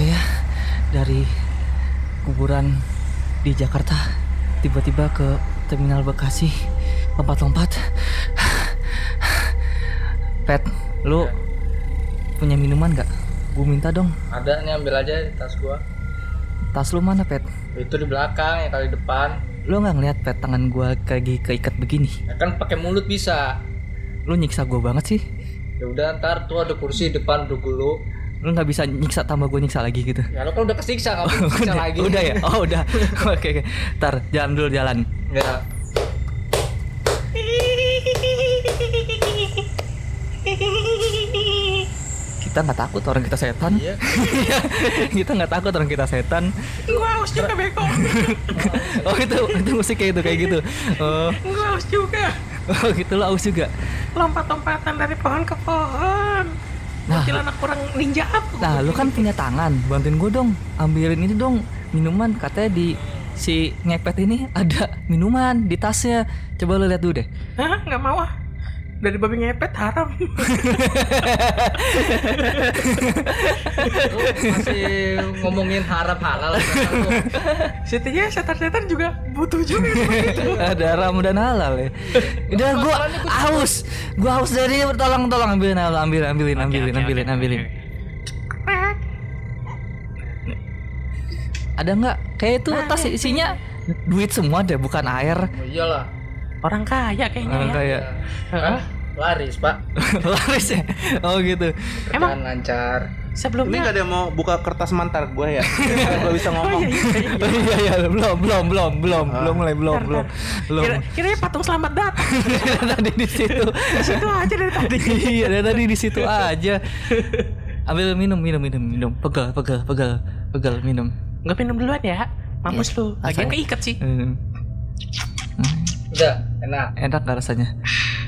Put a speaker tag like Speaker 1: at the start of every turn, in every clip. Speaker 1: ya. kuburan di Jakarta tiba-tiba ke terminal Bekasi lompat-lompat Pet lu
Speaker 2: Ya.
Speaker 1: punya minuman nggak gue minta dong
Speaker 2: Ada nih ambil aja di tas gua.
Speaker 1: tas lu mana Pet
Speaker 2: Itu di belakang ya kali depan.
Speaker 1: lu nggak ngeliat Pet tangan gua lagi keikat begini
Speaker 2: Ya kan pakai mulut bisa.
Speaker 1: lu nyiksa gua banget sih
Speaker 2: Ya udah ntar tuh ada kursi di depan duduk dulu.
Speaker 1: lu nggak bisa nyiksa tambah gue nyiksa lagi gitu
Speaker 2: Ya lo kan udah kesiksa nggak mungkin kesiksa
Speaker 1: udah,
Speaker 2: lagi.
Speaker 1: udah ya oh udah oke oke ntar jalan dulu jalan
Speaker 2: Ya.
Speaker 1: kita nggak takut orang kita setan
Speaker 2: Iya.
Speaker 1: kita nggak takut orang kita setan
Speaker 3: Gua haus juga beko.
Speaker 1: oh itu itu musik kayak itu kayak gitu oh,
Speaker 3: Gua haus juga.
Speaker 1: oh gitu lo aus juga
Speaker 3: Lompat-lompatan dari pohon ke pohon.
Speaker 1: Nah.
Speaker 3: Kecil anak kurang ninja apa?
Speaker 1: nah lu kan punya tangan bantuin gue dong ambilin itu dong minuman katanya di si ngepet ini ada minuman di tasnya coba lu lihat dulu deh
Speaker 3: Hah? Nggak mau ah. Dari babi ngepet haram.
Speaker 2: Lu masih ngomongin haram halal. kan, lu.
Speaker 3: Setidaknya setan-setan juga butuh juga.
Speaker 1: ada haram dan halal ya udah gue aus gue aus dari tolong tolong ambilin ambilin ambilin ambilin ambilin ambilin
Speaker 3: Krek.
Speaker 1: ada nggak kayak itu tas isinya duit semua deh bukan air
Speaker 2: Oh, iyalah.
Speaker 3: Orang kaya
Speaker 1: Orang
Speaker 3: kayaknya ya.
Speaker 1: kayak
Speaker 2: Hah? Laris pak.
Speaker 1: laris ya oh gitu
Speaker 2: Kerjaan
Speaker 3: Emang
Speaker 2: lancar.
Speaker 4: Ini
Speaker 3: sebelumnya
Speaker 4: gak ada yang mau buka kertas mantar gue ya? Gak bisa
Speaker 3: Oh iya,
Speaker 4: ngomong.
Speaker 3: iya, iya.
Speaker 1: iya iya belum belum belum belum belum mulai belum
Speaker 3: Ntar,
Speaker 1: belum belum
Speaker 3: Kira, kiranya patung selamat datang
Speaker 1: tadi di situ
Speaker 3: di situ aja dari tadi.
Speaker 1: iya dari tadi di situ aja ambil minum minum minum minum pegal pegal pegal pegal minum
Speaker 3: Gua minum duluan ya. Mampus lu.
Speaker 1: Iya.
Speaker 3: Lagian
Speaker 1: Asal-
Speaker 3: keikat sih.
Speaker 1: Minum.
Speaker 2: Udah enak.
Speaker 1: Eh, enak gak rasanya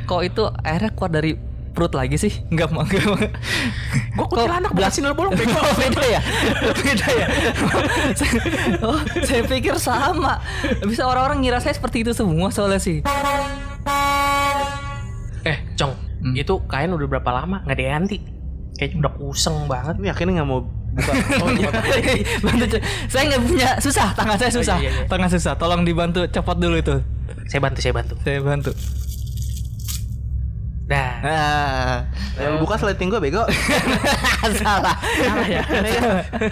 Speaker 1: kok itu airnya keluar dari perut lagi sih nggak mau nggak mau
Speaker 3: Gua kuntilanak bukan sinul bolong beko.
Speaker 1: Oh, beda ya beda ya saya, oh, saya pikir sama bisa orang-orang ngira saya seperti itu semua soalnya sih
Speaker 3: Eh, Cong,
Speaker 1: Hmm.
Speaker 3: itu kain udah berapa lama nggak diganti? Kayaknya udah kuseng banget.
Speaker 4: Ini yakin nggak mau buka. Oh,
Speaker 1: bantu co- saya nggak punya susah tangan saya susah
Speaker 3: iya, iya.
Speaker 1: tangan susah tolong dibantu copot dulu itu
Speaker 3: Saya bantu, saya bantu.
Speaker 1: saya bantu
Speaker 3: Dah.
Speaker 1: ah
Speaker 4: Nah, yang buka sliding gue bego.
Speaker 1: salah
Speaker 3: Salah ya.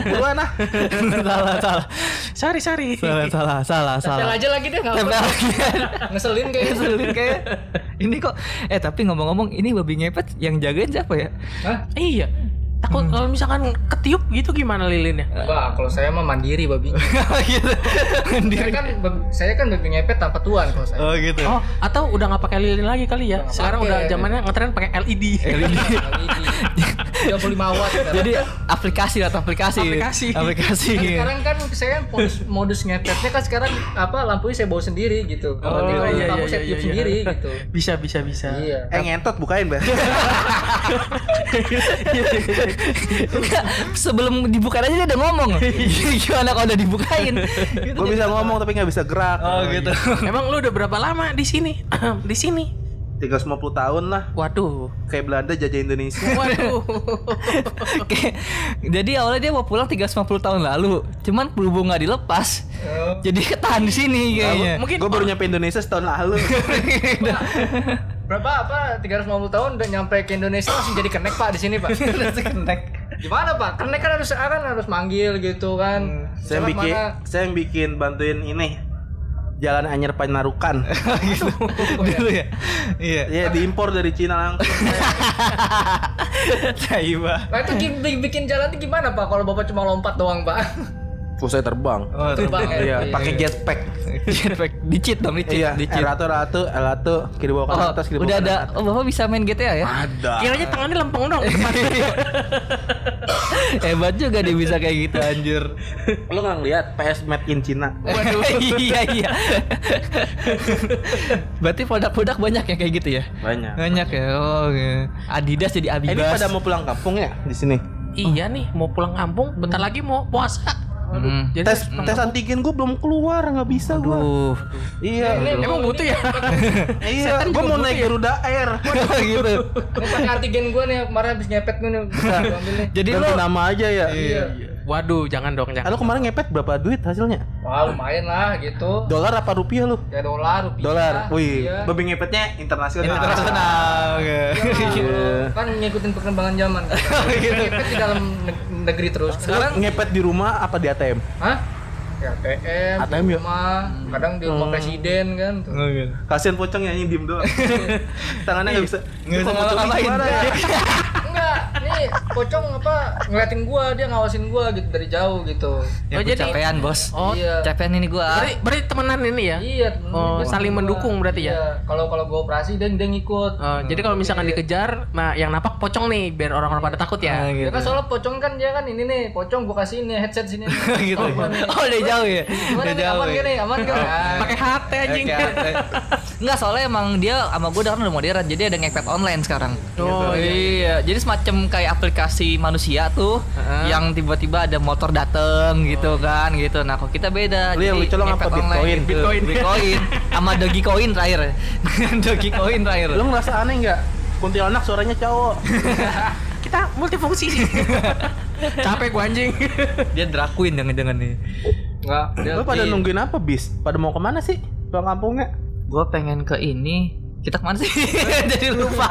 Speaker 4: Duluan ah.
Speaker 1: salah salah
Speaker 3: sorry, sorry.
Speaker 1: salah salah salah
Speaker 2: Tempel
Speaker 1: salah
Speaker 2: aja lagi deh nggak
Speaker 1: Tempel
Speaker 2: apa-apa.
Speaker 1: lagi.
Speaker 2: Ngeselin kayaknya.
Speaker 1: Ngeselin kayak ini kok eh tapi ngomong-ngomong ini babi ngepet yang jagain siapa ya
Speaker 2: Hah?
Speaker 3: Iya. Takut kalau misalkan ketiup gitu gimana lilinnya?
Speaker 2: Wah, kalau saya mah mandiri babi.
Speaker 1: gitu
Speaker 2: Saya
Speaker 1: Mandiri.
Speaker 2: kan babi- saya kan babi ngepet tanpa tuan kalau saya.
Speaker 1: oh
Speaker 4: Iya.
Speaker 1: gitu
Speaker 3: Oh, atau udah nggak pakai lilin lagi kali ya?
Speaker 2: Nggak
Speaker 3: Sekarang
Speaker 2: pakai. E
Speaker 3: udah zamannya ngetren pakai E LED.
Speaker 1: LED.
Speaker 2: Tiga puluh lima watt. Jadi
Speaker 1: jadi aplikasi atau aplikasi
Speaker 3: Aplikasi.
Speaker 1: aplikasi
Speaker 2: kan sekarang kan saya modus, modus ngepetnya kan sekarang apa lampunya saya bawa sendiri gitu. Kalau di
Speaker 3: iya,
Speaker 2: lampu
Speaker 3: iya,
Speaker 2: saya
Speaker 3: iya,
Speaker 2: tiup
Speaker 3: iya.
Speaker 2: sendiri gitu.
Speaker 3: Bisa, bisa, bisa.
Speaker 2: Iya.
Speaker 4: Eh ngentot bukain, Mbak.
Speaker 1: Enggak, sebelum dibuka aja dia udah ngomong
Speaker 4: Iya.
Speaker 1: gimana kalau udah dibukain
Speaker 4: Gue bisa ngomong tapi nggak bisa gerak.
Speaker 1: oh gitu
Speaker 3: Emang lu udah berapa lama di sini? di sini.
Speaker 4: 350 tahun lah.
Speaker 3: Waduh.
Speaker 4: Kayak Belanda jajah Indonesia.
Speaker 3: Waduh.
Speaker 1: Oke. Jadi awalnya dia mau pulang 350 tahun lalu, cuman berhubung nggak dilepas,
Speaker 4: Oh.
Speaker 1: jadi ketahan di sini kayaknya.
Speaker 3: Mungkin
Speaker 4: Gue baru nyampe Indonesia setahun lalu.
Speaker 2: Berapa apa 350 tahun udah nyampe ke Indonesia langsung jadi kenek Pak di sini Pak. Gimana Pak? Kenek kan harus kan harus manggil gitu kan.
Speaker 3: Hmm.
Speaker 4: saya yang
Speaker 2: Misalkan
Speaker 4: bikin,
Speaker 2: mana-
Speaker 4: saya yang bikin bantuin ini. Jalan Anyer Panarukan.
Speaker 1: gitu. Dulu ya. Iya.
Speaker 4: Iya, diimpor dari Cina langsung. Iya.
Speaker 1: Taiba.
Speaker 2: Nah itu gi- bi- bikin jalan itu gimana Pak? Kalau Bapak cuma lompat doang Pak.
Speaker 4: Terus saya terbang.
Speaker 1: Oh, tuh.
Speaker 2: Terbang ya.
Speaker 4: Iya, pakai jetpack.
Speaker 1: Jetpack. dicit dong, dicit,
Speaker 4: Iya,
Speaker 1: dicit.
Speaker 4: Ratu Ratu, Ratu, kiri bawah kanan
Speaker 1: Oh,
Speaker 4: atas, kiri bawah
Speaker 1: udah
Speaker 4: kanan
Speaker 1: ada.
Speaker 4: atas.
Speaker 1: Oh, Bapak bisa main GTA ya?
Speaker 4: Ada.
Speaker 3: kiranya tangannya lempeng dong.
Speaker 1: Hebat juga dia bisa kayak gitu anjir.
Speaker 4: Lo nggak ngeliat PS Made in China?
Speaker 1: Waduh. iya, iya. Berarti produk-produk banyak ya kayak gitu ya?
Speaker 4: Banyak.
Speaker 1: Banyak ya. Oh, oke. Adidas jadi
Speaker 4: Eh, ini
Speaker 1: Abibas.
Speaker 4: pada mau pulang kampung ya di sini?
Speaker 3: iya nih, mau pulang kampung, bentar lagi mau puasa.
Speaker 1: Hmm.
Speaker 3: Jadi
Speaker 4: tes tes antigen gue belum keluar nggak bisa gue
Speaker 1: Aduh.
Speaker 4: iya
Speaker 2: Ini-
Speaker 3: emang butuh ya?
Speaker 4: iya gue mau naik Garuda Air gitu
Speaker 2: Ini pakai antigen gue nih kemarin habis ngepet gue nih. Gua ambil nih.
Speaker 1: Jadi
Speaker 4: Ganti
Speaker 1: lo
Speaker 4: nama aja ya
Speaker 2: Iya.
Speaker 3: Waduh, jangan dong,
Speaker 4: Eh,
Speaker 3: jangan.
Speaker 4: lu kemarin ngepet berapa duit hasilnya
Speaker 2: Wah lumayan lah gitu.
Speaker 4: dolar apa rupiah lu
Speaker 2: Ya dolar, rupiah.
Speaker 4: dolar wih
Speaker 2: Iya.
Speaker 5: Babi ngepetnya internasional.
Speaker 1: internasional.
Speaker 2: Iya. Kan ngikutin perkembangan zaman. Ngepet di dalam neg- negeri terus.
Speaker 1: Sekarang
Speaker 4: ngepet di rumah apa di ATM
Speaker 2: Hah? Ya ATM,
Speaker 4: ATM
Speaker 2: di
Speaker 4: ya?
Speaker 2: rumah, kadang di rumah presiden kan. tuh.
Speaker 1: Hmm. Oh, iya.
Speaker 5: Kasihan pocong nyanyi diem doang. Tangannya nggak bisa.
Speaker 1: nggak bisa
Speaker 5: Mau pocong
Speaker 1: ngapa-ngapain.
Speaker 5: gimana ya?
Speaker 2: Enggak, nih pocong apa ngeliatin gua, dia ngawasin gua gitu dari jauh gitu.
Speaker 1: Ya,
Speaker 3: Oh,
Speaker 1: gua
Speaker 3: jadi-
Speaker 1: capean bos.
Speaker 3: Oh,
Speaker 2: iya.
Speaker 1: Capean ini gua.
Speaker 3: Berarti, berarti temenan ini ya?
Speaker 2: Iya, temen gua
Speaker 3: Oh, saling
Speaker 2: gua.
Speaker 3: mendukung berarti ya?
Speaker 2: Iya, Kalau kalau gua operasi dia dia ngikut.
Speaker 3: Oh, Jadi kalau misalkan dikejar, nah yang napak pocong nih, biar orang-orang pada takut
Speaker 1: Nah,
Speaker 3: ya.
Speaker 1: gitu.
Speaker 2: Ya kan soalnya pocong kan dia kan ini nih, pocong gua kasih ini headset sini. nih.
Speaker 1: gitu.
Speaker 2: gua nih.
Speaker 1: Oh, udah jauh ya.
Speaker 2: iya. Gimana
Speaker 1: Udah
Speaker 2: nih,
Speaker 1: jauh.
Speaker 2: aman
Speaker 1: ya?
Speaker 2: gak nih? Aman gak?
Speaker 3: Pakai HT anjing.
Speaker 1: Enggak soalnya emang dia sama gue udah kan udah modern jadi ada ngepet online sekarang.
Speaker 4: Gitu
Speaker 3: Oh,
Speaker 1: iya. Jadi semacam kayak aplikasi manusia tuh yang tiba-tiba ada motor dateng gitu kan gitu. Nah, kalau kita beda.
Speaker 4: Oh, iya. Lu yang
Speaker 1: Jadi
Speaker 4: lucu lo
Speaker 1: ngepet
Speaker 4: apa?
Speaker 1: online
Speaker 4: Bitcoin?
Speaker 1: gitu.
Speaker 3: Bitcoin.
Speaker 1: Bitcoin sama Dogecoin terakhir. Dogecoin terakhir.
Speaker 4: lu ngerasa aneh nggak kuntilanak suaranya cowok
Speaker 3: Kita multifungsi sih. Capek gua anjing.
Speaker 1: Dia drag queen jangan-jangan nih.
Speaker 2: Enggak, dia
Speaker 4: lu pada
Speaker 1: Iya.
Speaker 4: nungguin apa bis pada mau kemana sih pulang kampungnya
Speaker 1: Gue pengen ke ini. Kita kemana sih? jadi lupa.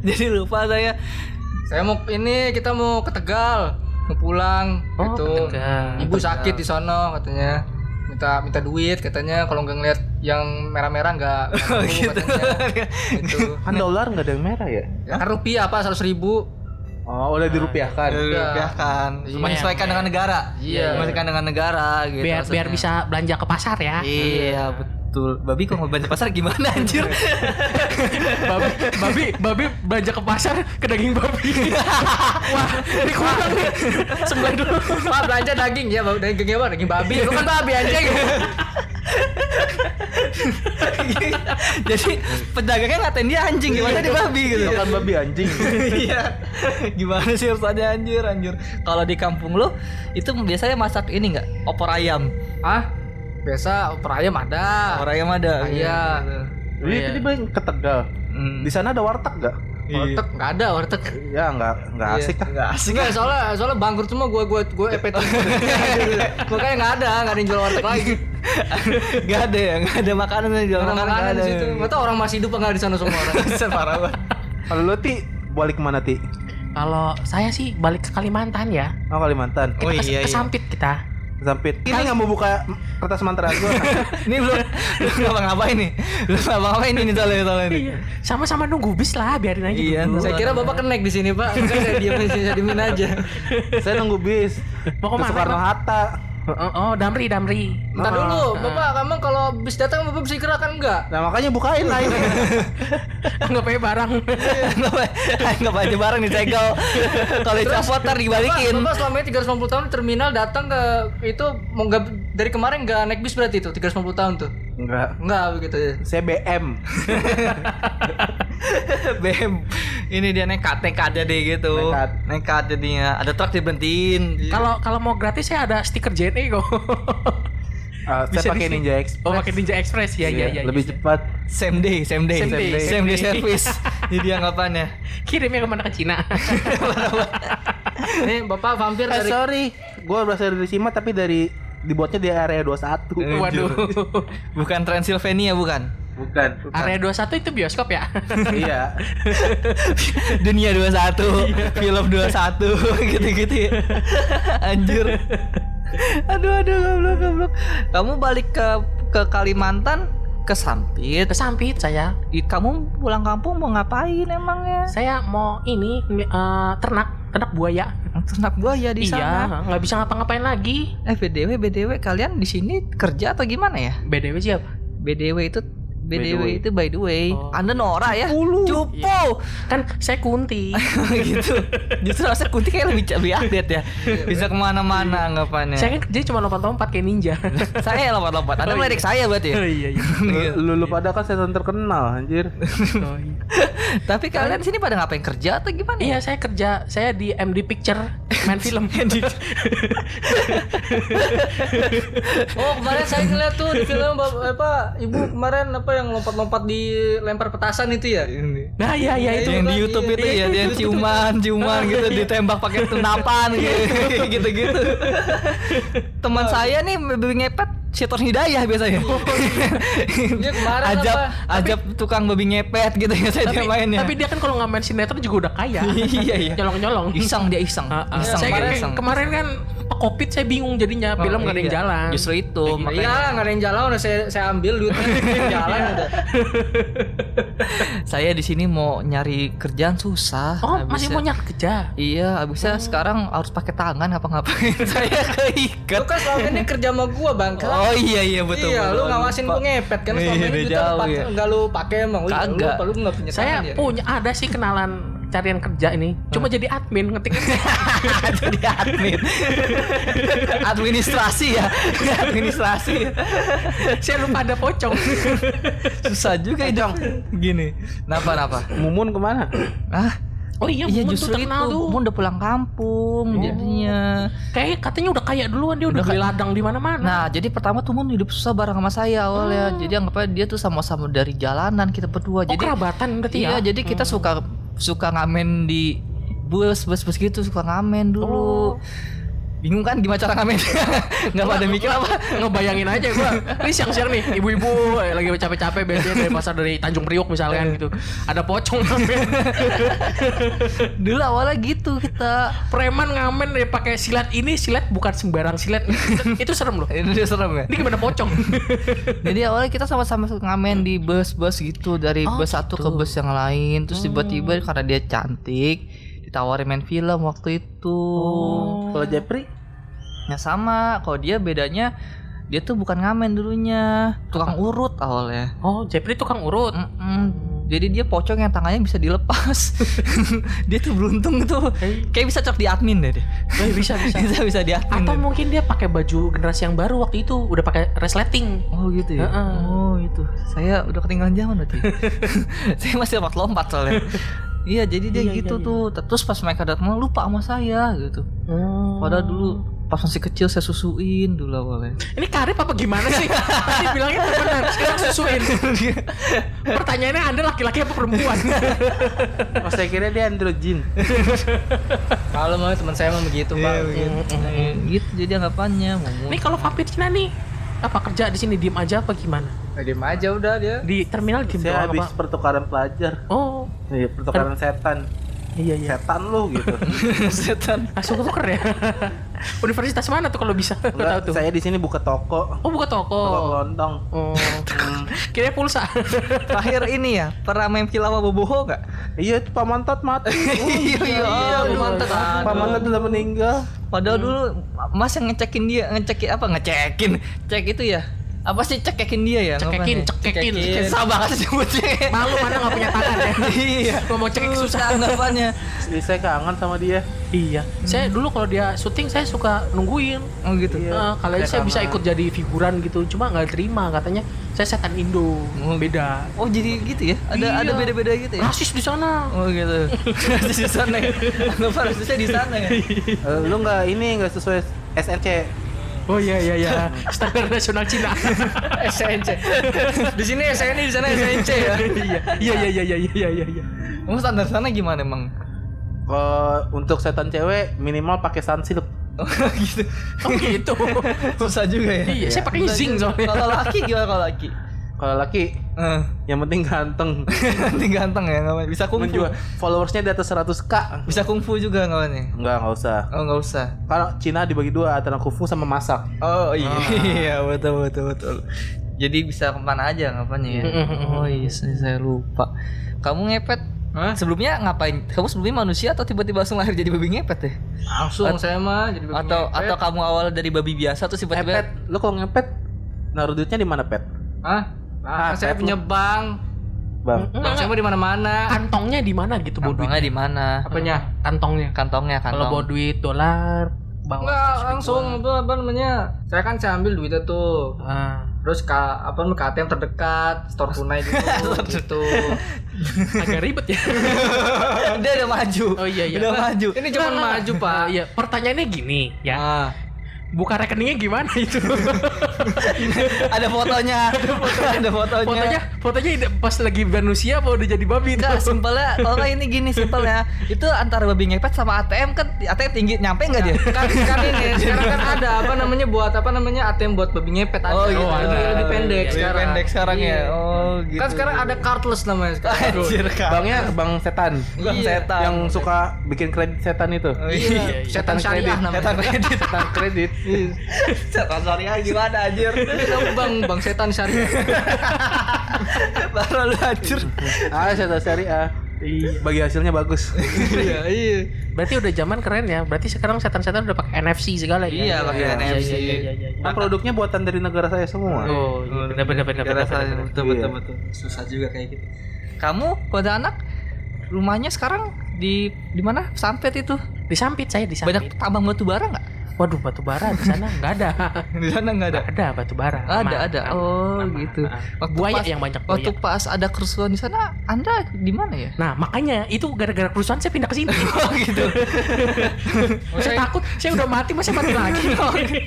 Speaker 1: jadi lupa saya.
Speaker 2: Saya mau ini kita mau ke Tegal, mau pulang gitu. Ibu sakit di sono katanya. Minta minta duit katanya kalau nggak ngeliat yang merah-merah nggak nggak mampu, katanya. gitu.
Speaker 4: kan dolar nggak ada yang merah ya
Speaker 2: Ya kan rupiah apa seratus ribu?
Speaker 4: oh udah dirupiahkan
Speaker 3: Iya.
Speaker 5: Rupiahkan.
Speaker 1: Iya kan? Menyesuaikan dengan negara.
Speaker 2: Iya.
Speaker 1: Menyesuaikan dengan negara gitu.
Speaker 3: Biar
Speaker 1: maksudnya.
Speaker 3: biar bisa belanja ke pasar ya.
Speaker 1: Iya betul. Babi kok mau belanja pasar gimana anjir?
Speaker 3: babi, babi, babi belanja ke pasar ke daging babi. Wah, ini kurang nih. Sembelih dulu.
Speaker 2: Pak belanja daging ya, babi- daging apa? Daging babi. Lu kan babi anjing.
Speaker 1: Iya. Jadi pedagangnya ngatain dia anjing
Speaker 3: Iya.
Speaker 1: gimana dia babi gitu.
Speaker 4: Makan babi anjing
Speaker 1: Iya. gimana sih urusannya anjir anjir. Kalau di kampung lu itu biasanya masak ini nggak? Opor ayam.
Speaker 2: Ah, biasa opor ayam ada.
Speaker 1: Opor ayam ada.
Speaker 2: Iya.
Speaker 4: jadi tadi bang ke Tegal
Speaker 1: Hmm. Iya.
Speaker 4: di sana ada warteg nggak
Speaker 2: Warteg nggak ada warteg.
Speaker 4: ya nggak nggak asik kan
Speaker 1: Nggak asik.
Speaker 2: Enggak, soalnya soalnya bangkrut semua gue gue gue EPT. eh, Makanya nggak ada, nggak ada yang jual warteg lagi.
Speaker 1: Gak ada ya, gak ada makanan yang jual
Speaker 2: Orang
Speaker 1: makanan nggak
Speaker 2: makanan
Speaker 1: ada.
Speaker 2: di situ. Nggak tahu orang masih hidup apa nggak di sana semua orang.
Speaker 1: Parah banget.
Speaker 4: kalau lu ti balik kemana ti
Speaker 3: Kalau saya sih balik ke Kalimantan ya.
Speaker 4: oh Kalimantan
Speaker 3: Kita kes- kesampit kita.
Speaker 4: Sampit. Kan Ini nggak mau buka kertas mantra gue.
Speaker 1: Ini belum belum ngapa-ngapain nih. Belum ngapa-ngapain ini soalnya soalnya nih.
Speaker 3: Sama-sama nunggu bis lah, biarin aja.
Speaker 1: Iya,
Speaker 3: dulu.
Speaker 2: Saya kira bapak kenek di sini pak, Makanya saya diam di sini, saya diemin aja.
Speaker 4: Saya nunggu bis.
Speaker 3: Mau
Speaker 4: Ke
Speaker 3: kemana,
Speaker 4: Soekarno Hatta. Oh.
Speaker 3: Oh, oh, Damri, Damri.
Speaker 2: Ntar dulu, bapak kamu kalau bis datang bapak bisa kan? gerakan enggak?
Speaker 4: Nah makanya bukain lain.
Speaker 3: Anggap aja barang.
Speaker 1: Iya. Anggap aja- anggap aja bareng nih segel kalau dicopot ntar dibalikin
Speaker 2: Bapak, bapak selama ini 350 tahun di terminal datang ke itu mau nggak dari kemarin nggak naik bis berarti itu 350 tahun tuh?
Speaker 4: Enggak.
Speaker 2: Enggak begitu ya.
Speaker 4: Saya BM.
Speaker 1: BM ini dia nekat nekat aja deh gitu
Speaker 4: Oh. Nekat.
Speaker 1: nekat jadinya ada truk diberhentiin
Speaker 3: Kalau kalau mau gratis saya ada stiker JNE kok.
Speaker 4: Ah,
Speaker 3: Bisa
Speaker 4: saya pakai
Speaker 3: di-
Speaker 4: Ninja X.
Speaker 3: Oh, pakai Ninja Express ya, ya, ya.
Speaker 4: Iya, Lebih
Speaker 3: ya.
Speaker 4: cepat.
Speaker 1: same day same day
Speaker 3: Same day,
Speaker 1: same
Speaker 3: same
Speaker 1: day
Speaker 3: day.
Speaker 1: service jadi anggapannya
Speaker 3: Kirimnya kemana ke Cina?
Speaker 2: Nih bapak vampir
Speaker 4: Eh
Speaker 2: dari
Speaker 4: sorry, gue berasal dari Sima tapi dari dibuatnya di area 21
Speaker 3: Waduh.
Speaker 1: bukan Transylvania bukan
Speaker 4: Bukan.
Speaker 3: Area 21 itu bioskop ya?
Speaker 4: iya.
Speaker 1: dunia 21 film 21 gitu-gitu ya. anjir aduh aduh goblok goblok kamu balik ke ke Kalimantan ke Sampit
Speaker 3: Kesampit saya.
Speaker 1: Ih, kamu pulang kampung mau ngapain emangnya?
Speaker 3: Saya mau ini eh, ternak, ternak buaya.
Speaker 1: Ternak buaya di sana.
Speaker 3: Iya, nggak bisa ngapa-ngapain lagi.
Speaker 1: Eh BDW BDW kalian di sini kerja atau gimana ya?
Speaker 3: BDW siapa?
Speaker 1: BDW itu BDW
Speaker 4: way.
Speaker 1: itu by the way.
Speaker 3: Oh.
Speaker 1: Anda Nora ya? Cupo.
Speaker 3: Kan saya kunti.
Speaker 1: gitu. Justru rasanya Kunti kayak lebih, lebih update ya. Bisa kemana-mana anggapannya.
Speaker 3: Iya. saya kan kerja cuma lompat-lompat kayak ninja.
Speaker 1: saya lompat-lompat. Anda
Speaker 3: Oh, iya.
Speaker 1: melirik saya berarti ya.
Speaker 3: iya iya.
Speaker 4: Lu, lu pada kan setan terkenal anjir.
Speaker 3: Oh, iya.
Speaker 1: Tapi kalian di sini pada ngapain kerja atau gimana?
Speaker 3: Iya, saya kerja, saya di MD Picture. Iya. main film.
Speaker 2: Oh kemarin saya ngeliat tuh di film Bap- apa ibu kemarin apa yang lompat-lompat dilempar petasan itu ya.
Speaker 3: Nah, ya ya itu.
Speaker 2: Iya,
Speaker 3: Iya.
Speaker 1: yang di
Speaker 2: iya,
Speaker 1: YouTube
Speaker 2: iya,
Speaker 1: itu ya dia ciuman ciuman gitu ditembak pakai senapan gitu gitu teman saya nih babi ngepet Syetor Hidayah biasanya
Speaker 3: Oh, iya.
Speaker 2: Dia kemarin
Speaker 1: ajab
Speaker 2: apa?
Speaker 1: ajab tukang babi ngepet gitu ya saya dia
Speaker 3: Tapi,
Speaker 1: mainnya
Speaker 3: tapi dia kan kalau nggak main sinetron juga udah kaya.
Speaker 1: Iya, iya.
Speaker 3: Nyolong-nyolong.
Speaker 1: iseng dia iseng
Speaker 3: Ah, Oh, ah.
Speaker 1: iseng
Speaker 3: Saya
Speaker 1: dia
Speaker 3: kan-
Speaker 1: iseng.
Speaker 3: kemarin kan covid saya bingung jadinya film nggak ada yang
Speaker 1: Iya,
Speaker 3: jalan. ya?
Speaker 1: justru itu
Speaker 2: Iya
Speaker 1: makanya
Speaker 2: lah nggak ada yang jalan udah saya saya ambil duitnya jalan udah.
Speaker 1: saya di sini mau nyari kerjaan susah
Speaker 3: Oh
Speaker 1: Habisnya-
Speaker 3: masih mau nyari Oh. kerja.
Speaker 1: Iya, abisnya sekarang harus pakai tangan apa ngapain saya keikat.
Speaker 2: Lu kan selama ini kerja sama gua bang.
Speaker 1: Oh iya iya betul.
Speaker 2: iya,
Speaker 1: betul.
Speaker 2: lu ngawasin
Speaker 1: Lupa.
Speaker 2: gua ngepet kan selama
Speaker 1: Iya,
Speaker 2: ini duitnya
Speaker 1: jauh,
Speaker 2: lu
Speaker 1: iya.
Speaker 2: pakai enggak lu pakai emang Wih, lu
Speaker 1: Kagak.
Speaker 2: apa lu enggak punya
Speaker 3: Saya
Speaker 2: tangan ya?
Speaker 3: punya ada sih kenalan carian kerja ini. Cuma jadi admin ngetik.
Speaker 1: jadi admin. Administrasi ya. Administrasi.
Speaker 3: saya lupa ada pocong.
Speaker 1: Susah juga dong. Gini. Napa napa?
Speaker 4: Mumun kemana?
Speaker 1: Ah,
Speaker 3: Oh iya,
Speaker 1: iya
Speaker 3: Mumun
Speaker 1: justru itu.
Speaker 3: tuh terkenal tuh.
Speaker 1: Mumun udah pulang
Speaker 3: Oh.
Speaker 1: kampung jadinya.
Speaker 3: Kayak katanya udah kaya duluan dia udah, beli ladang di mana-mana.
Speaker 1: Nah, jadi pertama tuh Mun hidup susah bareng sama saya awalnya. Jadi anggapnya dia tuh sama-sama dari jalanan kita berdua.
Speaker 3: Ah. oh,
Speaker 1: Jadi
Speaker 3: kerabatan berarti
Speaker 1: Iya,
Speaker 3: ya.
Speaker 1: jadi kita suka suka ngamen di bus bus bus gitu suka ngamen dulu. Bingung kan gimana cara ngamen? Nggak pada mikir apa?
Speaker 3: ngebayangin aja gua ini siang-siang nih ibu-ibu eh, lagi capek-capek biasanya dari pasar dari Tanjung Priok misalnya gitu ada pocong ngamen
Speaker 1: Dulu awalnya gitu kita.
Speaker 3: preman ngamen eh, pakai silat ini silat bukan sembarang silat itu serem loh
Speaker 1: Ini udah serem ya.
Speaker 3: ini gimana pocong
Speaker 1: Jadi awalnya kita sama-sama suka ngamen di bus-bus gitu Hmm. dari bus satu ke bus yang lain. Terus tiba-tiba karena dia cantik ditawarin main film waktu itu. Oh.
Speaker 4: Kalau Jepri?
Speaker 1: Nah sama, kalau dia bedanya dia tuh bukan ngamen dulunya, tukang urut awalnya.
Speaker 3: oh Jepri tukang urut
Speaker 1: Mm-mm. Jadi dia pocong yang tangannya bisa dilepas. dia tuh beruntung tuh. Kayak bisa cocok di admin deh. dia.
Speaker 3: Eh, bisa Eh. bisa
Speaker 1: bisa bisa di admin. deh.
Speaker 3: atau mungkin dia pakai baju generasi yang baru waktu itu udah pakai resleting
Speaker 1: Oh gitu ya.
Speaker 3: Heeh.
Speaker 1: Oh itu. Saya udah ketinggalan zaman berarti. saya masih lompat-lompat soalnya. iya, jadi dia
Speaker 3: Iya, iya,
Speaker 1: gitu
Speaker 3: iya.
Speaker 1: tuh. Terus pas mereka datang lupa sama saya gitu. Padahal dulu pas masih kecil saya susuin dulu awalnya.
Speaker 3: ini karib apa gimana sih tadi bilangnya benar sekarang susuin pertanyaannya anda laki-laki apa perempuan
Speaker 4: Oh, saya kira dia androgen.
Speaker 2: Kalau mau teman saya emang begitu,
Speaker 1: Iya,
Speaker 2: Bang.
Speaker 1: gitu jadi anggapannya. Mumun.
Speaker 3: Nih kalau vampir Cina nih apa kerja di sini diem aja apa gimana?
Speaker 2: Nah, diem aja udah dia.
Speaker 3: Di terminal diem
Speaker 4: Saya
Speaker 3: doang
Speaker 4: habis
Speaker 3: apa?
Speaker 4: pertukaran pelajar.
Speaker 3: Oh,
Speaker 4: Iya, pertukaran setan. Iya, iya. Setan lu gitu.
Speaker 1: setan.
Speaker 3: langsung tuker ya. Universitas mana tuh kalau bisa? Nggak tahu
Speaker 4: Enggak,
Speaker 3: tuh.
Speaker 4: saya di sini buka toko.
Speaker 3: Oh, buka toko.
Speaker 4: Toko kelontong.
Speaker 3: Oh,
Speaker 4: Hmm.
Speaker 3: kira pulsa.
Speaker 1: Terakhir ini ya, pernah main film apa boboho nggak?
Speaker 4: Iya, itu Pak Mantat mati.
Speaker 3: Oh,
Speaker 1: iya, iya,
Speaker 2: Aduh, mantep.
Speaker 4: Pak Mantat udah meninggal.
Speaker 1: Padahal dulu Mas yang ngecekin dia, ngecekin apa? Ngecekin, cek itu ya. Apa sih cekekin dia ya?
Speaker 3: Cekekin,
Speaker 1: Ngapain
Speaker 3: cekekin.
Speaker 1: ya? Cekekin. Susah banget sebutnya.
Speaker 3: Malu mana nggak punya tangan ya.
Speaker 1: Iya.
Speaker 3: Kalau mau cekik susah.
Speaker 1: Susah anggapannya.
Speaker 4: Jadi saya kangen sama dia.
Speaker 3: Iya. Saya dulu kalau dia syuting saya suka nungguin.
Speaker 1: Oh gitu.
Speaker 4: Iya.
Speaker 3: Eh, kalau
Speaker 4: Saya
Speaker 3: saya bisa
Speaker 4: kangen.
Speaker 3: ikut jadi figuran gitu, cuma nggak terima katanya saya setan Indo. Beda.
Speaker 1: Oh jadi gitu ya? Ada
Speaker 3: Iya.
Speaker 1: ada beda-beda gitu ya?
Speaker 3: Rasis di sana.
Speaker 1: Oh gitu. Rasis di sana ya. Anggapan rasisnya di sana ya.
Speaker 4: Eh, lu nggak ini nggak sesuai SNC.
Speaker 3: Oh iya iya iya. Standar nasional Cina.
Speaker 2: SNC. di sini SNI, di sana SNC ya.
Speaker 3: Iya iya iya iya iya iya iya.
Speaker 1: Kamu standar sana gimana emang?
Speaker 4: Eh, untuk setan cewek minimal pakai sunsilk.
Speaker 1: Oh gitu.
Speaker 3: Oh gitu.
Speaker 1: Susah juga ya.
Speaker 3: Iya, saya pakai
Speaker 1: Susah
Speaker 3: zinc
Speaker 1: juga.
Speaker 3: soalnya.
Speaker 1: Kalau laki gimana kalau laki?
Speaker 4: Kalau laki
Speaker 1: Eh.
Speaker 4: yang penting ganteng.
Speaker 1: Nanti ganteng ya ngapain? Bisa kungfu.
Speaker 4: Menjual followersnya di atas 100 k.
Speaker 1: Bisa kungfu juga ngapainnya?
Speaker 4: Enggak, nggak usah.
Speaker 1: Oh nggak usah.
Speaker 4: Kalau Cina dibagi dua antara kufu sama masak.
Speaker 1: Oh iya, iya betul betul betul. Jadi bisa kemana aja ngapainnya ya? oh iya, saya saya lupa. Kamu ngepet?
Speaker 2: Hah?
Speaker 1: Sebelumnya ngapain? Kamu sebelumnya manusia atau tiba-tiba langsung lahir jadi babi ngepet ya?
Speaker 2: Langsung saya mah jadi babi
Speaker 1: Atau
Speaker 2: ngepet.
Speaker 1: atau kamu awal dari babi biasa terus
Speaker 4: Eh, Pet,
Speaker 1: tiba-tiba?
Speaker 4: lu kalau ngepet naruh duitnya di mana, Pet?
Speaker 2: Hah? Nah,
Speaker 4: Ah,
Speaker 2: kan saya
Speaker 4: pet lu.
Speaker 2: punya bank.
Speaker 4: Bang.
Speaker 2: Bank saya mah di mana-mana.
Speaker 3: Kantongnya di mana gitu bawa duit?
Speaker 1: Kantongnya di mana?
Speaker 2: Apanya?
Speaker 3: Kantongnya.
Speaker 1: Kantongnya
Speaker 3: Kalau bawa
Speaker 1: kantong.
Speaker 3: duit dolar, bawa
Speaker 2: Enggak, langsung itu apa namanya? Saya kan saya ambil duitnya tuh.
Speaker 3: Ah.
Speaker 2: terus ke apa lu ke ATM terdekat store tunai gitu gitu
Speaker 3: Agak ribet ya.
Speaker 1: Dia udah maju.
Speaker 3: Oh iya iya.
Speaker 1: Udah
Speaker 3: Nah,
Speaker 1: maju.
Speaker 2: ini cuma
Speaker 3: nah, nah.
Speaker 2: maju pak
Speaker 3: Eh, Iya, pertanyaannya gini ya.
Speaker 2: Ah.
Speaker 3: Buka rekeningnya gimana itu?
Speaker 1: Ada fotonya. Ada fotonya.
Speaker 3: fotonya fotonya ide- pas lagi manusia apa udah jadi babi
Speaker 1: Enggak,
Speaker 3: tuh?
Speaker 1: simpelnya kalau nggak ini gini simpelnya. Itu antara babi ngepet sama ATM kan ATM tinggi nyampe nggak dia?
Speaker 2: kan kan ini sekarang kan ada apa namanya buat apa namanya ATM buat babi ngepet ada.
Speaker 1: Oh, gitu.
Speaker 2: lebih, lebih pendek
Speaker 1: Lebih
Speaker 2: sekarang
Speaker 1: pendek sekarang ya.
Speaker 2: Iya.
Speaker 1: Oh, gitu.
Speaker 2: kan sekarang ada cardless namanya sekarang
Speaker 1: Anjir, Kak.
Speaker 4: Bangnya bang setan.
Speaker 1: Bang
Speaker 2: Iya.
Speaker 1: setan.
Speaker 4: Yang suka bikin kredit setan itu.
Speaker 1: Iya.
Speaker 2: setan syariah namanya
Speaker 1: Setan kredit.
Speaker 4: Setan kredit.
Speaker 1: Setan syariah gimana anjir?
Speaker 2: bang bang setan syariah
Speaker 1: Baru lu anjir.
Speaker 4: Ah, setan syariah. Bagi hasilnya bagus.
Speaker 2: iya iya
Speaker 3: Berarti udah zaman keren ya. Berarti sekarang setan-setan udah pakai NFC segala ya.
Speaker 1: Iya, pakai NFC.
Speaker 3: Iya, iya, iya, iya.
Speaker 4: Kan produknya buatan dari negara saya semua.
Speaker 3: Oh, iya, benar benar benar benar. benar.
Speaker 5: betul
Speaker 1: Iya.
Speaker 5: betul betul susah juga kayak gitu
Speaker 1: Kamu kota anak rumahnya sekarang di di mana? Sampet itu.
Speaker 3: Disampit saya disampit.
Speaker 1: Banyak tambang batu bara nggak?
Speaker 3: Waduh batu bara di sana nggak ada.
Speaker 1: Di sana nggak
Speaker 3: Nggak ada batu bara.
Speaker 1: Ada
Speaker 3: Nah, Aman,
Speaker 1: ada.
Speaker 3: aman,
Speaker 1: Oh
Speaker 3: aman,
Speaker 1: gitu.
Speaker 3: aman.
Speaker 1: Waktu
Speaker 3: Buaya
Speaker 1: pas-
Speaker 3: yang banyak buaya.
Speaker 1: Waktu pas ada kerusuhan di sana, Anda di mana ya?
Speaker 3: Nah makanya itu gara-gara kerusuhan saya pindah ke sini.
Speaker 1: Oh gitu.
Speaker 3: saya takut saya udah mati masa mati lagi.
Speaker 1: Oh, iya.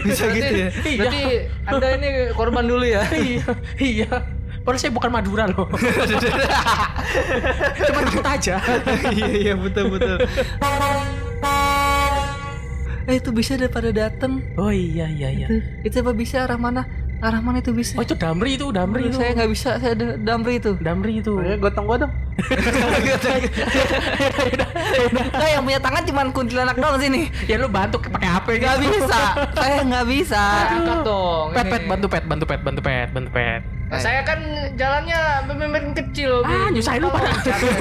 Speaker 1: Bisa gitu ya.
Speaker 3: Iya.
Speaker 2: berarti anda ini korban dulu ya
Speaker 3: iya iya. Padahal saya bukan Madura loh. Cuma takut aja.
Speaker 1: Iya iya betul betul. Eh itu bisa daripada dateng.
Speaker 3: Oh iya iya iya.
Speaker 1: Itu, itu apa bisa arah mana? Arah mana itu bisa?
Speaker 3: Oh itu Damri itu Damri
Speaker 1: Iya,
Speaker 3: itu.
Speaker 1: saya nggak Iya, bisa, saya da- damri itu.
Speaker 3: Damri itu.
Speaker 4: Ya, gotong gua dong.
Speaker 1: Nah, yang punya tangan cuman kuntilanak doang sini.
Speaker 3: Ya lu bantu pakai HP
Speaker 1: Nggak
Speaker 3: gitu.
Speaker 1: bisa, saya nggak bisa.
Speaker 2: angkat dong
Speaker 3: Pet
Speaker 2: ini.
Speaker 3: pet bantu pet bantu pet bantu pet bantu pet.
Speaker 2: Nah, saya kan jalannya pemimpin kecil
Speaker 3: Ah nyusahin lu pada.